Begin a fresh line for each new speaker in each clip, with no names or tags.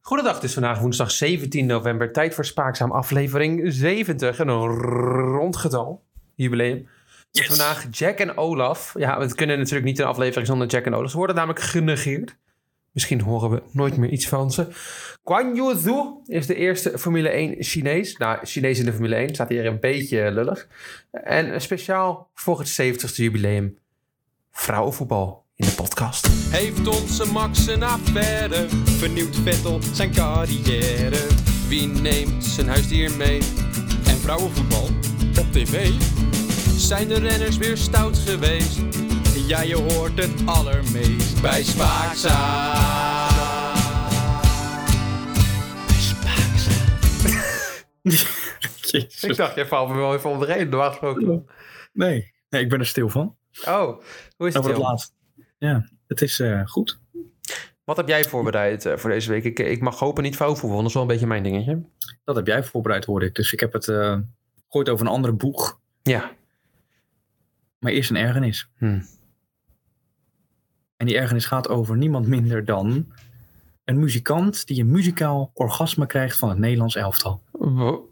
Goedendag, het is vandaag woensdag 17 november. Tijd voor Spaakzaam aflevering 70. En een rond getal. Jubileum. Met Vandaag Jack en Olaf. Ja, we kunnen natuurlijk niet een aflevering zonder Jack en Olaf. Ze worden namelijk genegeerd. Misschien horen we nooit meer iets van ze. Guan Yuzhu is de eerste Formule 1 Chinees. Nou, Chinees in de Formule 1 staat hier een beetje lullig. En speciaal voor het 70ste jubileum vrouwenvoetbal in de podcast.
Heeft onze Max een affaire? Vernieuwt Vettel zijn carrière? Wie neemt zijn huisdier mee? En vrouwenvoetbal op tv? Zijn de renners weer stout geweest? Ja, je hoort het allermeest bij Spaakza.
Ik
Jezus.
dacht, jij valt me wel even onderheen. Normaal gesproken.
Nee. nee, ik ben er stil van.
Oh, hoe is het?
Over het
Jim?
laatst. Ja, het is eh, goed.
Wat heb jij voorbereid eh, voor deze week? Ik, ik mag hopen niet vouwvoetbal, dat is wel een beetje mijn dingetje.
Dat heb jij voorbereid, hoorde ik. Dus ik heb het eh, gegooid over een andere boeg.
Ja,
Maar eerst een ergernis.
Hm.
En die ergernis gaat over niemand minder dan een muzikant die een muzikaal orgasme krijgt van het Nederlands elftal.
Wo-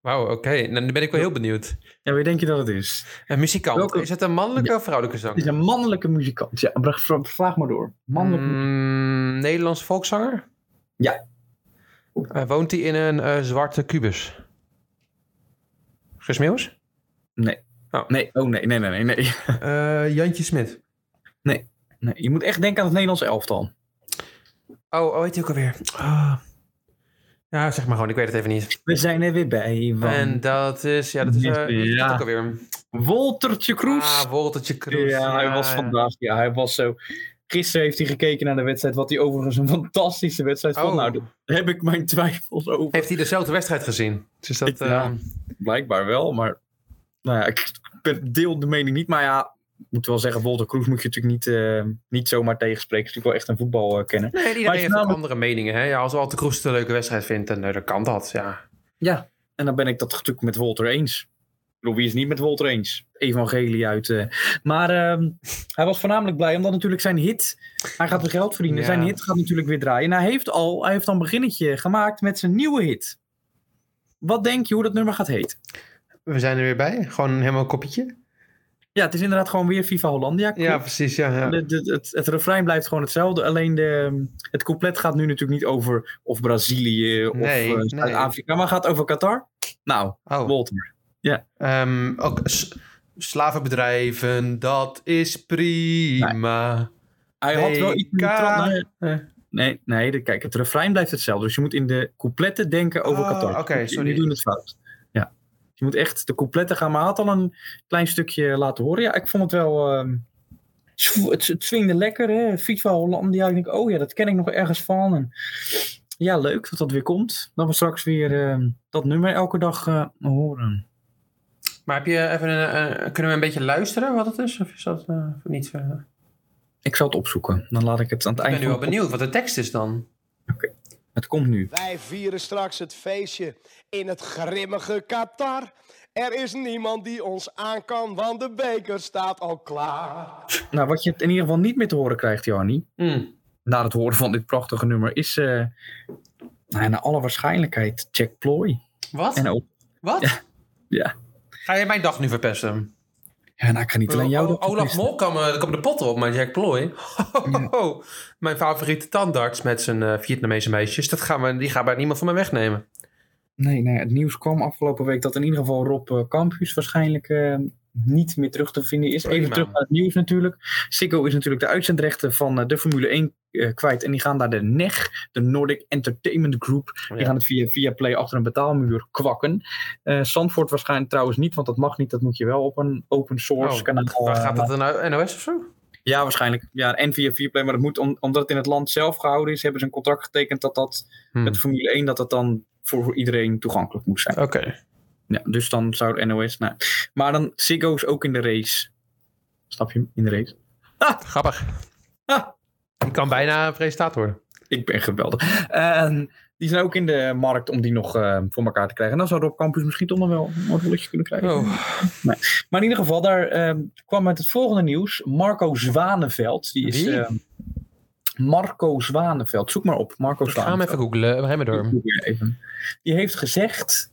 Wauw, oké. Nou, nu ben ik wel heel benieuwd.
Ja, wie denk je dat het is?
Een muzikant.
Welke-
Is het een mannelijke of vrouwelijke zang?
Het is een mannelijke muzikant. Ja, br- vra- vraag maar door. Mannelijke
Mm, Nederlands volkszanger?
Ja.
Eh, woont hij in een eh, zwarte kubus? Gesmeeuws?
Nee, oh nee, nee, nee, nee, nee.
Eh Jantje Smit.
nee. Je moet echt denken aan het Nederlands elftal.
Oh, oh, heet hij ook alweer? Ah. Ja, zeg maar gewoon, ik weet het even niet.
We zijn er weer bij. Want
En dat is, ja, dat is, eh,
Ja.
dat is ook alweer.
Woltertje Kroes.
Ah, Woltertje Kroes.
Ja, hij was
ja.
vandaag. Ja, hij was zo. Gisteren heeft hij gekeken naar de wedstrijd, wat hij overigens een fantastische wedstrijd vond.
Oh.
Nou, daar heb ik mijn twijfels over.
Heeft hij dezelfde wedstrijd gezien? Dus dat,
Ik- ja.
ehm,
Blijkbaar wel, maar nou ja, ik ben- deel de mening niet. Maar ja, ik moet wel zeggen, Wolter Kroes moet je natuurlijk niet, eh, niet zomaar tegenspreken. Hij is natuurlijk wel echt een voetbalkenner.
Nee, iedereen
Maar
heeft ook
namelijk-
andere meningen. Hè? Ja, als Walter Kroes een leuke wedstrijd vindt, dan, eh, dan kan dat. Ja.
Ja, en dan ben ik dat natuurlijk met Wolter eens. Ik bedoel, Wie is het niet met Wolter eens? Evangelie uit. eh. Maar ehm, hij was voornamelijk blij omdat natuurlijk zijn hit. Hij gaat weer geld verdienen.
Ja.
Zijn hit gaat natuurlijk weer draaien. En hij heeft al hij heeft al een beginnetje gemaakt met zijn nieuwe hit. Wat denk je hoe dat nummer gaat heten?
We zijn er weer bij. Gewoon helemaal een koppietje.
Ja, het is inderdaad gewoon weer Viva Hollandia.
Ja, precies. Ja, ja.
De- de- het, het refrein blijft gewoon hetzelfde. Alleen de, ehm, het couplet gaat nu natuurlijk niet over of Brazilië of
Nee,
eh,
nee.
Zuid-Afrika. Maar gaat over Qatar. Nou,
Oh,
Wolter.
ehm, ook s- slavenbedrijven, dat is prima.
Hij had wel iets meer
WK.
trap naar-
Eh,
Nee, nee, de- kijk, het refrein blijft hetzelfde. Dus je moet in de coupletten denken over
Ah,
Qatar.
oké,
Je-
sorry.
Je doet het fout. Ja. Je moet echt de coupletten gaan. Maar hij had al een klein stukje laten horen. Ja, ik vond het wel... ehm, sw- het, het swingde lekker, hè. FIFA Hollandia. Ik denk, oh ja, dat ken ik nog ergens van. En, ja, leuk dat dat weer komt. Dat we straks weer ehm, dat nummer elke dag eh, horen.
maar heb je even een, eh, kunnen we een beetje luisteren wat het is? Of is dat eh, of niet? eh?
Ik zal het opzoeken. Dan laat ik het aan het
ik
einde...
ben nu wel
van-
benieuwd wat de tekst is dan.
Het komt nu.
Wij vieren straks het feestje in het grimmige Qatar. Er is niemand die ons aan kan, want de beker staat al klaar.
Nou, wat je in ieder geval niet meer te horen krijgt, Jarnie...
Hmm.
na het horen van dit prachtige nummer is eh, nou ja, naar alle waarschijnlijkheid Jack Ploy.
Wat?
En ook,
Wat?
ja.
Ga je mijn dag nu verpesten?
ja, nou, ik ga niet alleen jou
O-
dat
Oh, Olaf
verpesten.
Mol kwam, eh, kwam de pot op, maar Jack Ploy. Mijn favoriete tandarts met zijn eh, Vietnamese meisjes. Dat gaan we, die gaat bij niemand van mij wegnemen.
Nee, nee, het nieuws kwam afgelopen week dat in ieder geval Rob eh, Campus waarschijnlijk eh, niet meer terug te vinden is. Even
Prima.
terug naar het nieuws natuurlijk. Siggo is natuurlijk de uitzendrechten van eh, de Formule 1 eh, kwijt. En die gaan daar de NEG, de Nordic Entertainment Group, die gaan het via, via Play achter een betaalmuur kwakken. Eh Zandvoort waarschijnlijk trouwens niet, want dat mag niet. Dat moet je wel op een open source
Oh,
kanaal.
Waar
eh,
gaat dat dan? NOS of zo?
Ja, waarschijnlijk. Ja, en via Viaplay. Maar dat moet, om- omdat het in het land zelf gehouden is, hebben ze een contract getekend dat dat
Hmm,
met Formule 1 dat dat dan voor, voor iedereen toegankelijk moet zijn.
Oké.
Ja, dus dan zou de NOS. Nou, maar dan Ziggo is ook in de race. Snap je? hem? In de race.
Grappig.
Ah.
Die kan bijna een presentator worden.
Ik ben geweldig. En die zijn ook in de markt om die nog eh, voor elkaar te krijgen. En dan zou Rob Campus misschien toch nog wel een rolletje kunnen krijgen.
Oh.
Maar in ieder geval, daar ehm, kwam uit het volgende nieuws. Marco Zwaneveld. Die is
Wie?
ehm, Marco Zwaneveld. Zoek maar op, Marco
Ik ga hem
Zwaneveld.
even googlen. We hebben door.
Doe hier even. Die heeft gezegd.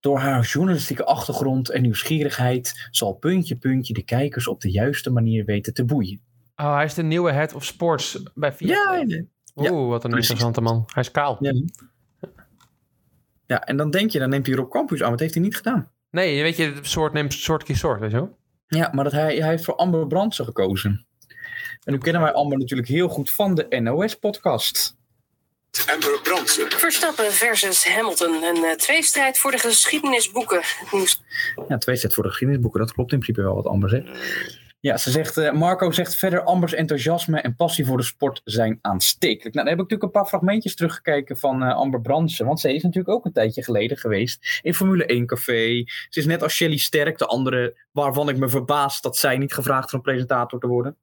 Door haar journalistieke achtergrond en nieuwsgierigheid zal puntje puntje de kijkers op de juiste manier weten te boeien.
Oh, hij is de nieuwe head of sports bij Fiat.
ja,
Oeh, wat een
precies.
interessante man. Hij is kaal.
ja. Ja, en dan denk je, dan neemt hij Rob Campus aan, maar dat heeft hij niet gedaan.
Nee, weet je, soort neemt soort kiest soort, weet je wel?
Ja, maar dat hij, hij heeft voor Amber Brandsen gekozen. En nu kennen wij Amber natuurlijk heel goed van de NOS-podcast.
Amber Brandsen.
Verstappen versus Hamilton. Een eh, tweestrijd voor de geschiedenisboeken. Het nieuws
Ja, twee set voor de geschiedenisboeken. Dat klopt in principe wel wat Amber zegt. Ja, ze zegt, eh, Marco zegt verder Ambers enthousiasme en passie voor de sport zijn aanstekelijk. Nou, dan heb ik natuurlijk een paar fragmentjes teruggekeken van eh, Amber Brandsen. Want ze is natuurlijk ook een tijdje geleden geweest in Formule 1 Café. Ze is net als Shelley Sterk, de andere waarvan ik me verbaas dat zij niet gevraagd is om presentator te worden.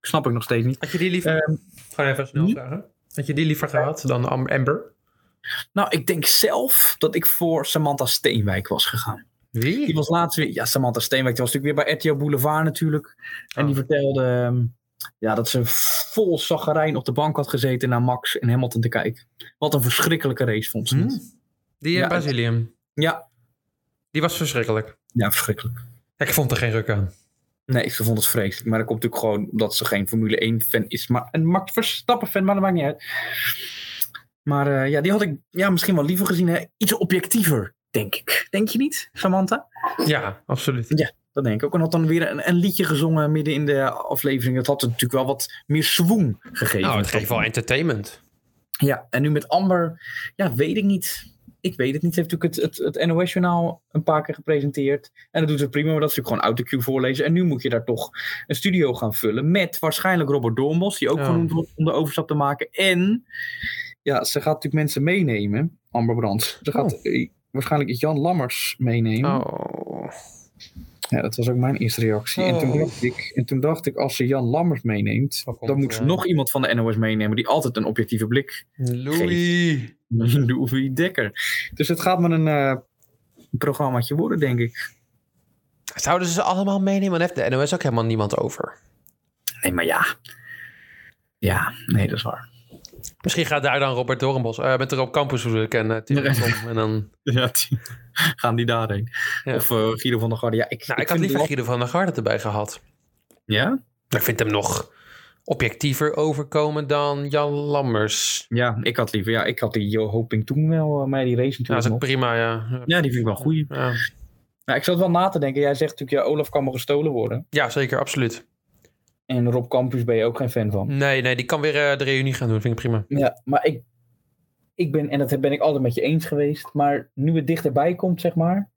Snap ik nog steeds niet.
Had je die liever...
Ehm,
Gewoon even snel
niet-
vragen. Had je die liever gehad dan Am- Amber?
Nou, ik denk zelf dat ik voor Samantha Steenwijk was gegaan. Die
Wie?
was laatst weer... Ja, Samantha Steenwijk. Die was natuurlijk weer bij RTL Boulevard natuurlijk. En
Oh.
die vertelde ehm, ja, dat ze vol zaggerijn op de bank had gezeten... naar Max en Hamilton te kijken. Wat een verschrikkelijke race vond ze.
Hm?
het.
Die in
Ja,
Brazilië.
Ja.
Die was verschrikkelijk.
ja, verschrikkelijk.
Ik vond er geen ruk aan.
Nee, ze vond het vreselijk. Maar dat komt natuurlijk gewoon omdat ze geen Formule 1-fan is. Maar een Max Verstappen-fan, maar dat maakt niet uit. Maar eh, ja, die had ik ja, misschien wel liever gezien. Hè? Iets objectiever, denk ik. Denk je niet, Samantha?
Ja, absoluut.
Dat denk ik ook. En had dan weer een, een liedje gezongen midden in de aflevering. Dat had het natuurlijk wel wat meer swoon gegeven.
Nou, het geeft wel entertainment.
Ja, en nu met Amber, ja, weet ik niet. Ik weet het niet. Ze heeft natuurlijk het, het, het NOS-journaal een paar keer gepresenteerd. En dat doet ze prima, maar dat is natuurlijk gewoon autocue voorlezen. En nu moet je daar toch een studio gaan vullen. Met waarschijnlijk Robert Dormos, die ook
Ja.
genoemd wordt om de overstap te maken. En, ja, ze gaat natuurlijk mensen meenemen, Amber Brands. Ze gaat eh, waarschijnlijk Jan Lammers meenemen.
Oh.
Ja, dat was ook mijn eerste reactie. En, toen
Oh.
dacht ik, en toen dacht ik, als ze Jan Lammers meeneemt,
Waar komt
dan eh,
hij
moet ze
aan?
nog iemand van de NOS meenemen die altijd een objectieve blik
Louis.
Louis Dekker. Dus het gaat maar een eh, een programmaatje worden, denk ik.
Zouden ze ze allemaal meenemen? Dan heeft de NOS ook helemaal niemand over.
Nee, maar ja. Ja, nee, dat is waar.
Misschien gaat daar dan Robert Dorenbos, eh met Rob Campus bedoel ik, en eh, Tim
Nee.
Tom. En dan,
Ja, die- gaan die daarheen.
Ja.
Of eh, Guido van der Garde. Ja, ik,
nou, ik had
vind
liever
die-
Guido van der Garde erbij gehad.
Ja?
Ik vind hem nog objectiever overkomen dan Jan Lammers.
ja, ik had liever. Ja, ik had die Yo Hoping toen wel, eh, maar die race
Ja, dat
natuurlijk
Nou, is ook
nog.
prima, ja.
Ja, die vind ik wel goed.
Ja,
Nou, ik zat wel na te denken. Jij zegt natuurlijk, ja, Olaf kan maar gestolen worden.
ja zeker, absoluut.
En Rob Campus ben je ook geen fan van.
Nee, nee, die kan weer eh, de reunie gaan doen, vind ik prima.
Ja, maar ik, ik ben, en dat ben ik altijd met je eens geweest, maar nu het dichterbij komt, zeg maar,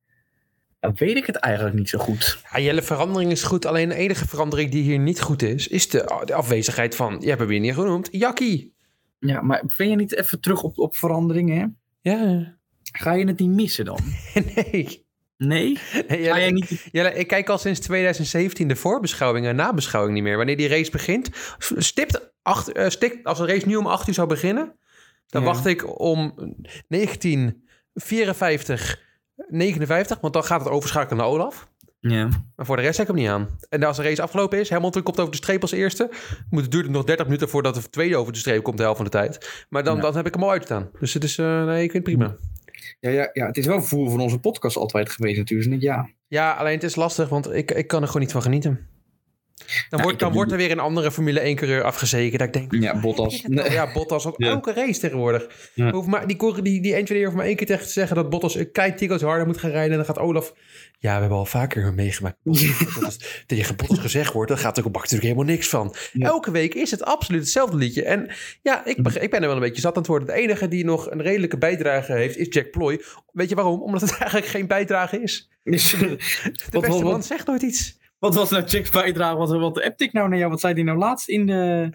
dan weet ik het eigenlijk niet zo goed.
Ja, Jelle, verandering is goed. Alleen de enige verandering die hier niet goed is, is de, de afwezigheid van, je hebt hem weer niet genoemd, Jackie.
Ja, maar ben je niet even terug op, op veranderingen? hè?
Ja,
Ga je het niet missen dan?
nee.
Nee?
Nee,
Ga
Jelle,
jij niet...
Jelle, ik kijk al sinds 2017 de voorbeschouwing en nabeschouwing niet meer. Wanneer die race begint, stipt acht, eh, stikt, als een race nu om 8 uur zou beginnen, dan
Ja.
wacht ik om 1954, 59, want dan gaat het overschakelen naar Olaf.
Ja.
Maar voor de rest zet ik hem niet aan. En als de race afgelopen is, Hamilton komt over de streep als eerste. Moet, het duurt het nog 30 minuten voordat de tweede over de streep komt, de helft van de tijd. Maar dan,
Ja.
dan heb ik hem al uitstaan. Dus het is, eh, nee, ik vind het prima.
Ja, ja, ja, het is wel voer van onze podcast altijd geweest natuurlijk. Dus ik denk, ja.
Ja, alleen het is lastig, want ik, ik kan er gewoon niet van genieten. Nou, Dan,
ik
wordt, dan
heb
wordt er weer een andere Formule 1-coureur afgezekerd. Dat ik denk,
Ja, Bottas.
nou ja, Bottas op
Ja.
elke race tegenwoordig.
Ja.
Hoeft maar, die, cor- die, die engineer hoeft maar één keer tegen te zeggen dat Bottas een kei tikkels harder moet gaan rijden. En dan gaat Olaf... Ja, we hebben al vaker meegemaakt dat als tegen Bottas gezegd wordt. Dan gaat de bak natuurlijk helemaal niks van.
Ja. Mm.
Elke week is het absoluut hetzelfde liedje. En ja, ik, beg- ik ben er wel een beetje zat aan het worden. De enige die nog een redelijke bijdrage heeft is Jack Ploy. Weet je waarom? Omdat het eigenlijk geen bijdrage is. De
Dus, Wat-
beste
wat-
man zegt nooit iets.
Wat was nou Jack's bijdrage? Wat, wat appt ik nou naar jou? Wat zei die nou laatst in de...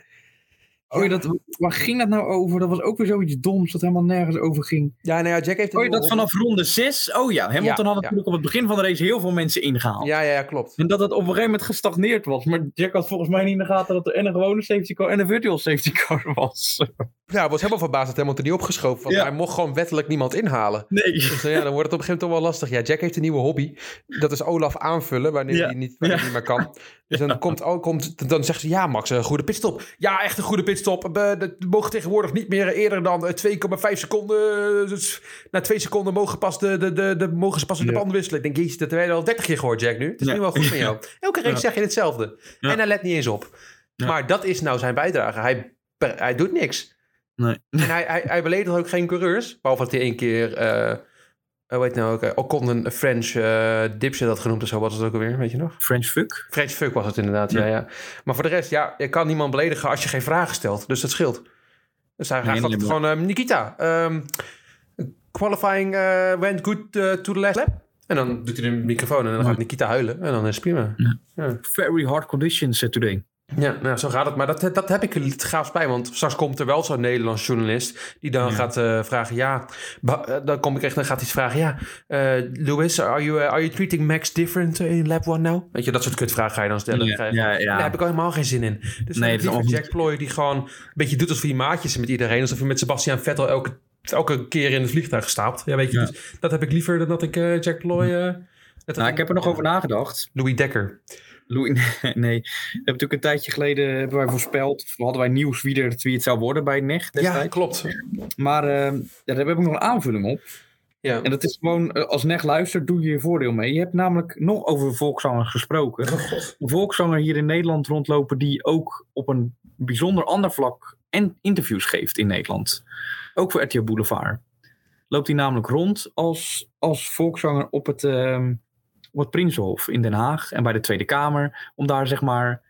Oh, dat, waar ging dat nou over? Dat was ook weer zoiets doms dat helemaal nergens over ging.
Ja, nou ja, Jack heeft het
Oh, dat
wel-
vanaf ronde 6. Oh ja, Hamilton
Ja,
had
ja.
natuurlijk op het begin van de race heel veel mensen ingehaald.
Ja, ja, ja, klopt.
En dat het op een gegeven moment gestagneerd was. Maar Jack had volgens mij niet in de gaten dat er en een gewone safety car en een virtual safety car was.
Ja, ik was helemaal verbaasd dat Hamilton niet opgeschoven was.
Ja.
Hij mocht gewoon wettelijk niemand inhalen.
Nee.
Dus ja, dan wordt het op een gegeven moment toch wel lastig. Ja, Jack heeft een nieuwe hobby. Dat is Olaf aanvullen wanneer
Ja.
hij niet, wanneer
Ja.
hij maar kan. Dus dan, komt, ook- komt, dan zegt ze, ja Max, een goede pitstop. Ja, echt een goede pitstop. We dat mogen tegenwoordig niet meer eerder dan eh, 2,5 seconden. eh, Dus na 2 seconden mogen, pas de, de, de, de, mogen ze pas de
Ja.
band wisselen. Ik denk, jezus, dat hebben wij al 30 keer gehoord, Jack, nu. Het is
Ja.
nu wel goed van jou. Elke race
Ja.
zeg je hetzelfde.
Ja.
En hij let niet eens op.
Ja.
Maar dat is nou zijn bijdrage. Hij, hij doet niks.
Nee.
En hij, hij, hij beledigt ook geen coureurs. Behalve dat hij één keer... eh hoe heet het nou ook? eh, Ocon een French eh dipshit had genoemd of zo was het ook alweer, weet je nog?
French fuck.
French fuck was het inderdaad, ja. ja, Maar voor de rest, ja, je kan niemand beledigen als je geen vragen stelt. Dus dat scheelt. Dus hij
Nee,
gaat altijd
nee,
gewoon, ehm, Nikita, ehm, qualifying eh, went good eh, to the last lap. En dan doet hij de microfoon en dan gaat Nikita huilen. En dan is het prima.
Very hard conditions eh, today.
Ja, nou, zo gaat het. Maar dat, dat heb ik er niet gaafs bij. Want straks komt er wel zo'n Nederlands journalist... die dan
Ja.
gaat eh, vragen, ja... ba- eh, dan kom ik echt, dan gaat hij iets vragen. Ja, eh Lewis, are you, eh, are you treating Max different eh, in lap 1 now? Weet je, dat soort kutvragen ga je dan stellen. Ga je-
ja,
Daar heb ik al helemaal geen zin in. Dus nee,
Nee, dat is
liever
allemaal
Jack Ploy die gewoon een beetje doet alsof hij maatjes is met iedereen. Alsof hij met Sebastian Vettel elke, elke keer in het vliegtuig stapt. Ja, weet je,
Ja.
dus dat heb ik liever dan dat ik eh, Jack Ploy... eh, net
Nou,
als-
ik heb er nog over nagedacht.
Louis Dekker.
Louis, nee, nee. We hebben natuurlijk een tijdje geleden hebben wij voorspeld, of hadden wij nieuws wie, er, wie het zou worden bij E NEG
Ja,
destijds.
klopt.
Maar eh, daar heb ik nog een aanvulling op.
Ja.
En dat is gewoon, eh, als NEG luistert, doe je je voordeel mee. Je hebt namelijk nog over volkszangers gesproken. Een volkszanger hier in Nederland rondlopen die ook op een bijzonder ander vlak en interviews geeft in Nederland. Ook voor RTL Boulevard. Loopt hij namelijk rond als, als volkszanger op het, ehm, op het Prinsenhof in Den Haag en bij de Tweede Kamer. Om daar zeg maar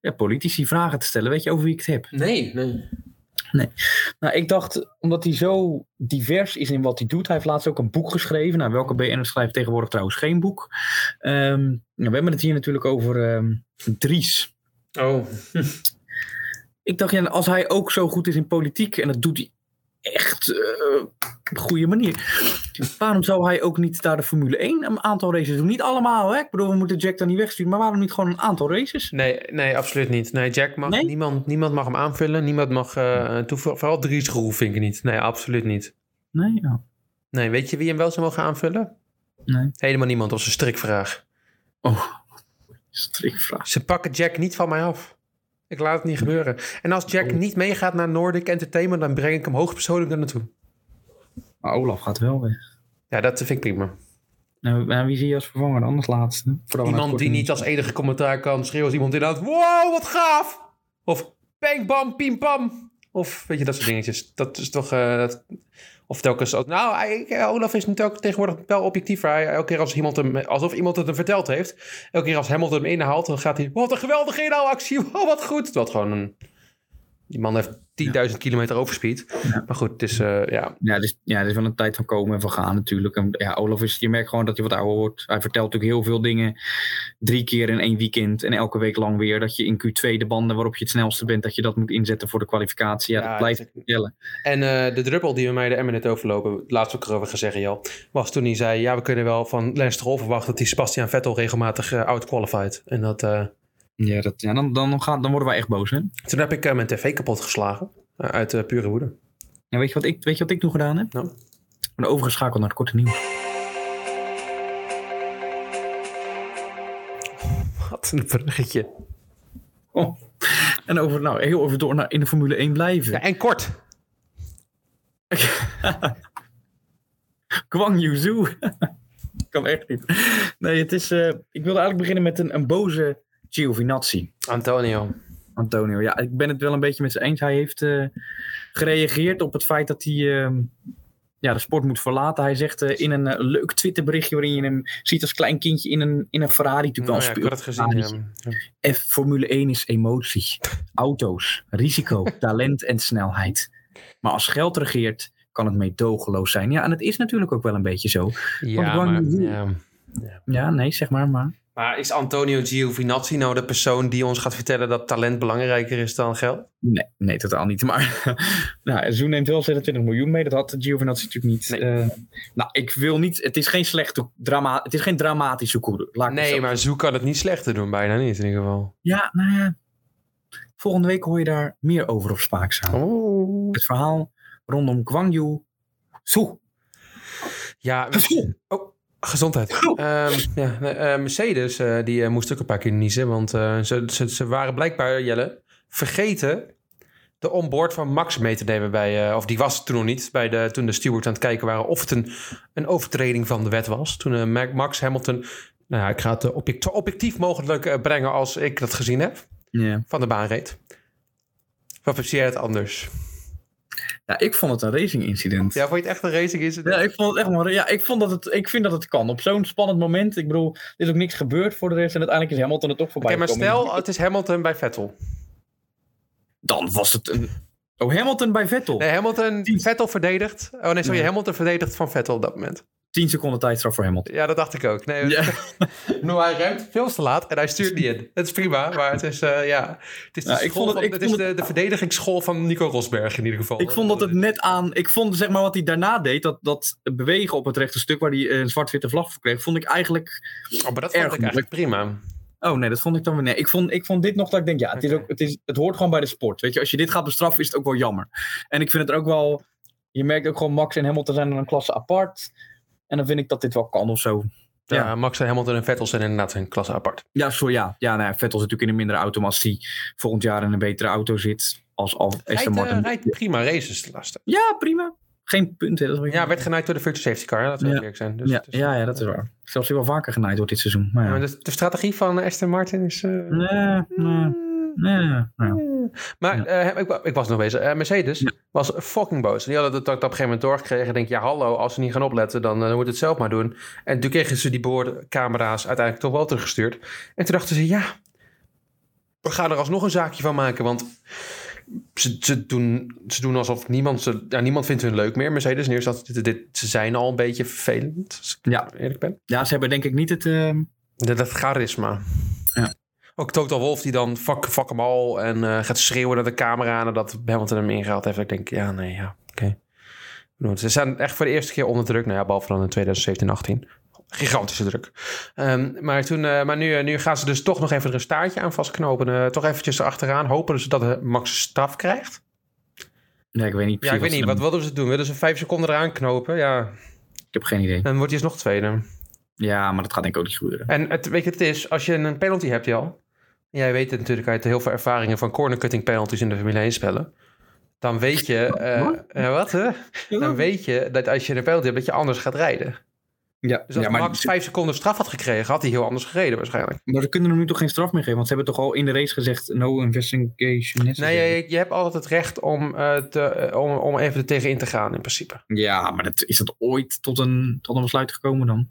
ja, politici vragen te stellen. Weet je over wie ik het heb?
Nee, nee.
Nou, ik dacht, omdat hij zo divers is in wat hij doet. Hij heeft laatst ook een boek geschreven. Nou, welke BN'er schrijft tegenwoordig trouwens geen boek? Ehm, nou, we hebben het hier natuurlijk over ehm, Dries.
Oh,
Ik dacht, ja, als hij ook zo goed is in politiek... en dat doet hij echt eh, op een goede manier... waarom zou hij ook niet daar de Formule 1 een aantal races doen? Niet allemaal, hè? Ik bedoel, we moeten Jack dan niet wegsturen... maar waarom niet gewoon een aantal races?
Nee, nee, absoluut niet. Nee, Jack mag,
Nee?
Niemand, niemand mag hem aanvullen. Niemand mag eh toevoegen. Vooral Dries Groef vind ik niet. Nee, absoluut niet.
Nee, ja.
Nee, weet je wie hem wel zou mogen aanvullen?
Nee.
Helemaal niemand, dat is een strikvraag.
Oh, strikvraag.
Ze pakken Jack niet van mij af. Ik laat het niet gebeuren. En als Jack niet meegaat naar Nordic Entertainment, dan breng ik hem hoogpersoonlijk daar naartoe.
Maar Olaf gaat wel weg.
Ja, dat vind ik prima.
Nou, en wie zie je als vervanger dan als laatste? Vooral na
Iemand
het
die niet als enige commentaar kan schreeuwen als iemand inderdaad... Wow, wat gaaf! Of bang, bam, piem, pam. Of weet je, dat soort dingetjes. Dat is toch... eh, dat- of telkens... als- Nou, hij- eh, Olaf is nu telkens tegenwoordig wel objectiever. Hij, elke keer als iemand hem, alsof iemand het hem verteld heeft. Elke keer als Hamilton hem inhaalt, dan gaat hij... Wat een geweldige inhaalactie! Wow, wat goed! Wat gewoon een... Die man heeft 10.000 kilometer overspeed. Maar goed, het is... eh, ja.
Ja, het is, ja, het is wel een tijd van komen en van gaan natuurlijk. En ja, Olaf is, je merkt gewoon dat hij wat ouder wordt. Hij vertelt natuurlijk heel veel dingen. Drie keer in één weekend en elke week lang weer. Dat je in Q2 de banden waarop je het snelste bent, dat je dat moet inzetten voor de kwalificatie. Ja,
Ja,
dat blijft vertellen.
En eh, de druppel die we mij de emmer net overlopen, laatst ook erover gezegd, Jal, was toen hij zei: Ja, we kunnen wel van Lance Stroll verwachten dat hij Sebastian Vettel regelmatig eh, outqualified. En dat, eh,
Ja, dat, ja dan, dan, gaat, dan worden wij echt boos, hè?
toen heb ik eh, mijn tv kapot geslagen. eh, uit eh, pure woede.
Ja, weet, je wat ik, weet je wat ik toen gedaan heb?
Nou.
Ik ben overgeschakeld naar het korte nieuws.
Wat een bruggetje.
Oh. En over, nou, heel over door naar in de Formule 1 blijven.
Ja, en kort.
Kwang Yuzu. kan echt niet. Nee, het is. eh, ik wilde eigenlijk beginnen met een, een boze Giovinazzi.
Antonio.
Antonio. Ja, ik ben het wel een beetje met ze eens. Hij heeft eh, gereageerd op het feit dat hij. ehm, ja, de sport moet verlaten. Hij zegt eh, in een eh, leuk Twitterberichtje waarin je hem ziet als klein kindje in een, in een Ferrari natuurlijk
Nou
al
ja, ik
speelt.
had het gezien.
Ferrari.
ja.
F, Formule 1 is emotie, auto's, risico, talent en snelheid. Maar als geld regeert, kan het meedogenloos zijn. Ja, en het is natuurlijk ook wel een beetje zo.
Ja,
Wang
maar,
Yuzu.
ja.
Ja, nee, zeg maar, maar.
Maar is Antonio Giovinazzi nou de persoon die ons gaat vertellen dat talent belangrijker is dan geld?
Nee, nee, totaal niet. Maar nou, Zoen neemt wel 26 miljoen mee. Dat had Giovinazzi natuurlijk niet.
Nee.
Eh, nou, ik wil niet... Het is geen slechte drama... Het is geen dramatische koer. laat ik het zo
Nee, maar Zoek kan het niet slechter doen, bijna niet in ieder geval.
Ja, nou ja. Volgende week hoor je daar meer over op Spaakzaam.
Oh.
Het verhaal rondom Gwangju. Zo.
Ja, oh,
Zo.
Gezondheid. Ehm, ja, nee, eh, Mercedes eh, die eh, moest ook een paar keer niezen. Want eh, ze, ze, ze waren blijkbaar, Jelle, vergeten de onboard van Max mee te nemen. Bij, eh, of die was het toen nog niet. Bij de, toen de stewards aan het kijken waren of het een, een overtreding van de wet was. Toen eh, Ma- Max Hamilton. Nou ja, ik ga het eh, object- zo objectief mogelijk eh, brengen als ik dat gezien heb.
Ja.
Van de baan reed. Wat vind jij het anders?
ja, ik vond het een racing incident.
Ja, vond je het echt een racing incident?
Ja, ik vond het echt maar. Ja, ik, vond dat het, ik vind dat het kan. Op zo'n spannend moment. Ik bedoel, er is ook niks gebeurd voor de rest. En uiteindelijk is Hamilton er toch
Oké,
voorbij.
maar
gekomen.
stel het is Hamilton bij Vettel.
Dan was het een. Oh, Hamilton bij Vettel.
Nee, Hamilton,
Die-
Vettel verdedigt. Oh nee, sorry,
Nee.
Hamilton verdedigt van Vettel op dat moment.
10 seconden tijdstraf voor Hamilton.
Ja, dat dacht ik ook. Nee,
Ja.
Nou, hij ruimt veel te laat en hij stuurt niet in. Dat is prima, maar het is, eh, ja, het is, de,
Nou, ik
school
vond het-
van-
ik
het is
vond
de, de verdedigingsschool van Nico Rosberg in ieder geval. Dus-
Ik vond dat het net aan. Ik vond zeg maar wat hij daarna deed. Dat, dat bewegen op het rechte stuk waar hij eh, een zwart-witte vlag voor kreeg. Vond ik eigenlijk
Oh, maar dat
erg
vond ik eigenlijk prima.
Oh nee, dat vond ik dan weer. Nee, ik vond, ik vond dit nog dat ik denk, ja, het, is
Oké.
ook, het, is, het hoort gewoon bij de sport. Weet je, als je dit gaat bestraffen, is het ook wel jammer. En ik vind het ook wel. Je merkt ook gewoon Max en Hamilton zijn dan een klasse apart. En dan vind ik dat dit wel kan of zo.
Ja.
Ja.
Max en Hamilton en Vettel zijn inderdaad een klasse apart.
Ja, sorry, ja. Ja, nou ja, Vettel zit natuurlijk in een mindere auto. Maar als hij volgend jaar in een betere auto zit. Als al Aston
Rijdt, eh,
Martin.
rijdt prima races de laatste.
Ja, prima. Geen punten. Dat is wel
Ja, werd genaaid door de virtual safety car, hè, laten we
Ja.
eerlijk zijn. Dus
ja,
het is-
ja, ja, dat is waar. Zelfs hij wel vaker genaaid wordt dit seizoen. Maar
Ja,
ja.
maar de, de strategie van Aston Martin is... eh,
Nee, nee, nee, nee.
Maar
Ja.
eh, ik, wa- ik was nog bezig. Eh, Mercedes
Ja.
was fucking boos. Die hadden dat op een gegeven moment doorgekregen. Ik Denk, ja, hallo, als ze niet gaan opletten, dan eh, moet het zelf maar doen. En toen kregen ze die boordcamera's uiteindelijk toch wel teruggestuurd. En toen dachten ze, ja, we gaan er alsnog een zaakje van maken. Want ze, ze, doen, ze doen alsof niemand ze... Ja, niemand vindt hun leuk meer, Mercedes. In eerste instantie, dit, dit- ze zijn al een beetje vervelend, als ik
Ja.
eerlijk ben.
ja, ze hebben denk ik niet het. ehm,
Dat, dat charisma.
Ja.
Ook Total Wolf die dan fuck, fuck hem al en eh, gaat schreeuwen naar de camera nadat Hamilton hem ingehaald heeft. Ik denk, ja, nee, ja, oké. Ik bedoel, Ze zijn echt voor de eerste keer onder druk. Nou ja, behalve dan in 2017 Gigantische druk. Ehm, maar toen, eh, maar nu, eh, nu gaan ze dus toch nog even er een staartje aan vastknopen. eh, toch eventjes erachteraan. Hopen ze dat eh, Max straf krijgt.
nee, ik weet niet.
Ja, ik
precies
weet niet.
ze
Wat
doen.
wilden ze doen? Willen ze vijf seconden eraan knopen? Ja,
Ik heb geen idee.
dan wordt hij dus nog tweede.
Ja, maar dat gaat denk ik ook niet gebeuren.
En het, weet je, het is, als je een penalty hebt, Jal. Jij weet het natuurlijk uit heel veel ervaringen van cornercutting penalties in de Formule 1 spellen. Dan weet je, eh, eh, wat hè? Dan weet je dat als je een penalty hebt, dat je anders gaat rijden.
Ja,
Dus als
ja maar,
Max vijf seconden straf had gekregen, had hij heel anders gereden waarschijnlijk.
maar ze kunnen hem nu toch geen straf meer geven? Want ze hebben toch al in de race gezegd: no investigation. necessary.
Nee, je, je hebt altijd het recht om, eh, te, eh, om, om even er tegen in te gaan in principe.
Ja, maar dat, is dat ooit tot een, tot een besluit gekomen dan?